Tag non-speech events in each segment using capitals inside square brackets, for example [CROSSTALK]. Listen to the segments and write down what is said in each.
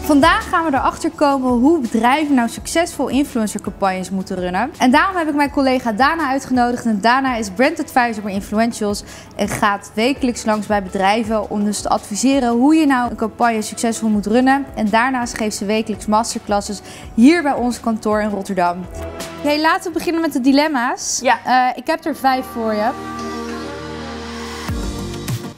Vandaag gaan we erachter komen hoe bedrijven nou succesvol influencercampagnes moeten runnen. En daarom heb ik mijn collega Dana uitgenodigd. En Dana is brand advisor bij Influentials en gaat wekelijks langs bij bedrijven om dus te adviseren hoe je nou een campagne succesvol moet runnen. En daarnaast geeft ze wekelijks masterclasses hier bij ons kantoor in Rotterdam. Hey, laten we beginnen met de dilemma's. Ja. Eh, ik heb er vijf voor je.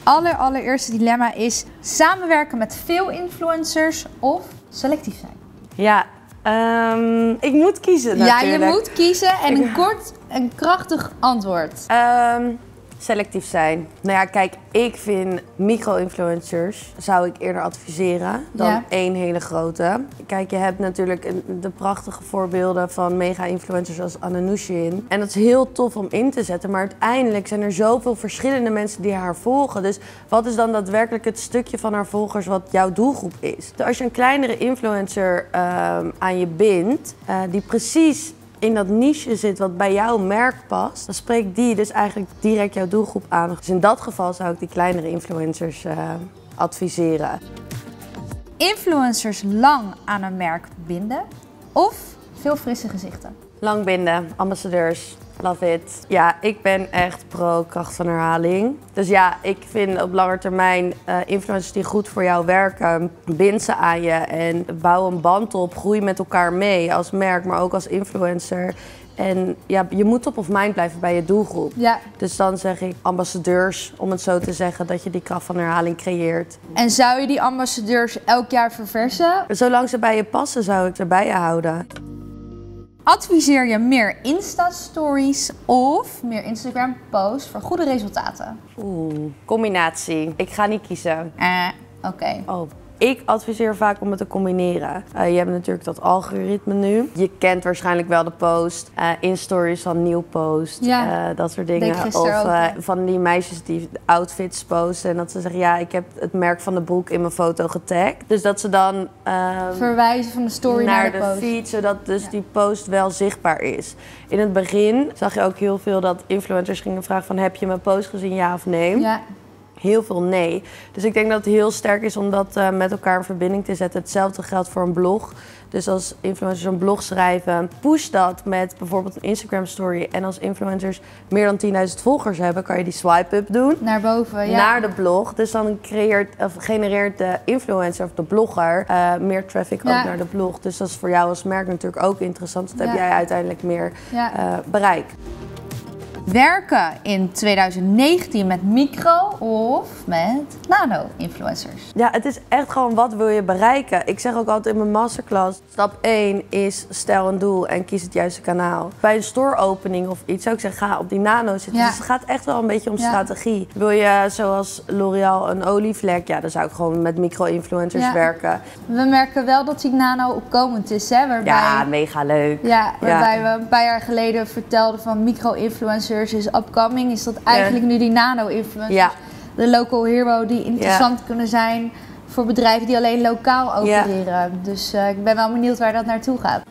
Aller, allereerste dilemma is samenwerken met veel influencers of selectief zijn. Ja, ehm, ik moet kiezen natuurlijk. Ja, je moet kiezen en een kort en krachtig antwoord. Ehm, selectief zijn. Nou ja, kijk, ik vind micro-influencers zou ik eerder adviseren dan Ja. één hele grote. Kijk, je hebt natuurlijk een- de prachtige voorbeelden van mega-influencers als Ananushin. En dat is heel tof om in te zetten, maar uiteindelijk zijn er zoveel verschillende mensen die haar volgen. Dus wat is dan daadwerkelijk het stukje van haar volgers wat jouw doelgroep is? Dus Als je een kleinere influencer ehm, aan je bindt, eh, die precies in dat niche zit wat bij jouw merk past, dan spreekt die dus eigenlijk direct jouw doelgroep aan. Dus in dat geval zou ik die kleinere influencers eh, adviseren. Influencers lang aan een merk binden of veel frisse gezichten. Langbinden, ambassadeurs, love it. Ja, ik ben echt pro kracht van herhaling. Dus ja, ik vind op lange termijn eh, influencers die goed voor jou werken, bind ze aan je en bouw een band op. Groei met elkaar mee als merk, maar ook als influencer. En ja, je moet top of mind blijven bij je doelgroep. Ja. Dus dan zeg ik ambassadeurs, om het zo te zeggen, dat je die kracht van herhaling creëert. En zou je die ambassadeurs elk jaar verversen? Zolang ze bij je passen, zou ik ze bij je houden. Adviseer je meer Insta-stories of meer Instagram-posts voor goede resultaten? Oeh, combinatie. Ik ga niet kiezen. Eh, oké. Oh. Ik adviseer vaak om het te combineren. Eh, je hebt natuurlijk dat algoritme nu. Je kent waarschijnlijk wel de post. eh in-stories van nieuw post. Ja. eh, dat soort Deed dingen. ik Of gisteren ook, eh, ja. van die meisjes die outfits posten. En dat ze zeggen, ja, ik heb het merk van de broek in mijn foto getagd. Dus dat ze dan... ehm, Verwijzen van de story naar, de, post. feed, zodat dus die post wel zichtbaar is. In het begin zag je ook heel veel dat influencers gingen vragen van... heb je mijn post gezien, ja of nee? Ja. Heel veel nee. Dus ik denk dat het heel sterk is om dat eh, met elkaar in verbinding te zetten. Hetzelfde geldt voor een blog. Dus als influencers een blog schrijven, push dat met bijvoorbeeld een Instagram story. En als influencers meer dan 10.000 volgers hebben, kan je die swipe-up doen Naar boven, ja. naar de blog. Dus dan creëert, of genereert de influencer of de blogger eh, meer traffic Ja. ook naar de blog. Dus dat is voor jou als merk natuurlijk ook interessant. Dat Ja. heb jij uiteindelijk meer Ja. eh, bereik. Werken in 2019 met micro of met nano-influencers? Ja, het is echt gewoon wat wil je bereiken. Ik zeg ook altijd in mijn masterclass, stap 1 is stel een doel en kies het juiste kanaal. Bij een storeopening of iets zou ik zeggen, ga op die nano zitten. Ja. Dus het gaat echt wel een beetje om Ja. strategie. Wil je zoals L'Oreal een olievlek? Ja, dan zou ik gewoon met micro-influencers Ja. werken. We merken wel dat die nano opkomend is, hè? Waarbij, Ja, mega leuk. ja, waarbij we een paar jaar geleden vertelden van micro-influencers is upcoming. Is dat eigenlijk nu die nano-influencers? Ja. De local hero die interessant kunnen zijn voor bedrijven die alleen lokaal Ja. opereren. Dus eh, ik ben wel benieuwd waar dat naartoe gaat.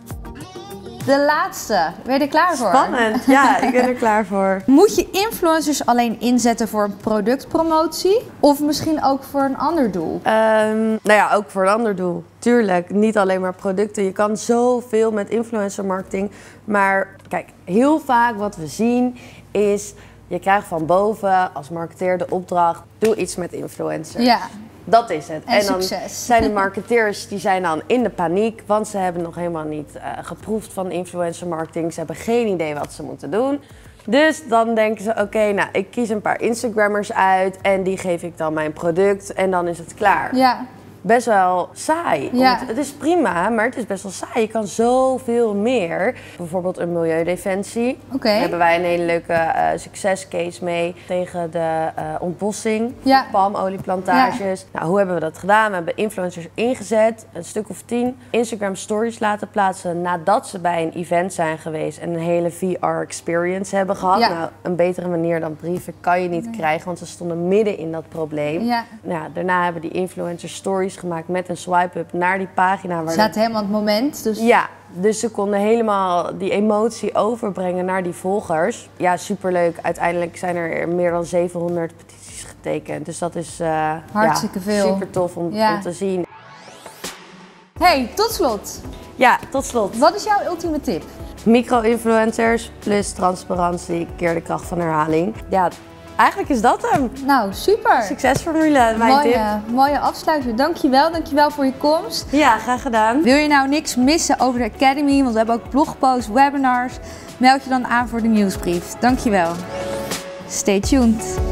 De laatste. Ben je er klaar voor? Spannend, ja, ik ben er klaar voor. Moet je influencers alleen inzetten voor een productpromotie of misschien ook voor een ander doel? Ehm, nou ja, ook voor een ander doel. Tuurlijk, niet alleen maar producten. Je kan zoveel met influencer marketing. Maar kijk, heel vaak wat we zien is... je krijgt van boven als marketeer de opdracht... doe iets met influencer. Ja, Dat is het. En dan succes. zijn [LAUGHS] de marketeers die zijn dan in de paniek, want ze hebben nog helemaal niet eh, geproefd van influencer marketing. Ze hebben geen idee wat ze moeten doen. Dus dan denken ze, oké, nou, ik kies een paar Instagrammers uit en die geef ik dan mijn product en dan is het klaar. ja, Best wel saai. Ja. Want het is prima, maar het is best wel saai. Je kan zoveel meer. Bijvoorbeeld een milieudefensie. Oké. Daar hebben wij een hele leuke eh, succescase mee tegen de eh, ontbossing. Ja. Palmolieplantages. Nou, hoe hebben we dat gedaan? We hebben influencers ingezet, een stuk of tien. Instagram stories laten plaatsen nadat ze bij een event zijn geweest en een hele VR-experience hebben gehad. Ja. Nou, een betere manier dan brieven kan je niet krijgen, want ze stonden midden in dat probleem. Ja. Nou, ja, daarna hebben die influencers stories gemaakt met een swipe-up naar die pagina waar ze zaten helemaal aan het moment. Dus ja, dus ze konden helemaal die emotie overbrengen naar die volgers. Ja, superleuk. Uiteindelijk zijn er meer dan 700 petities getekend. Dus dat is eh, Hartstikke ja, veel. super tof om, Ja. om te zien. Hey, tot slot. Ja, tot slot. Wat is jouw ultieme tip? Micro-influencers plus transparantie keer de kracht van herhaling. Ja, eigenlijk is dat hem. Nou, super. Succesformule, mijn tip. Mooie, mooie afsluiter. Dankjewel, dankjewel voor je komst. Ja, graag gedaan. Wil je nou niks missen over de Academy? Want we hebben ook blogposts, webinars. Meld je dan aan voor de nieuwsbrief. Dankjewel. Stay tuned.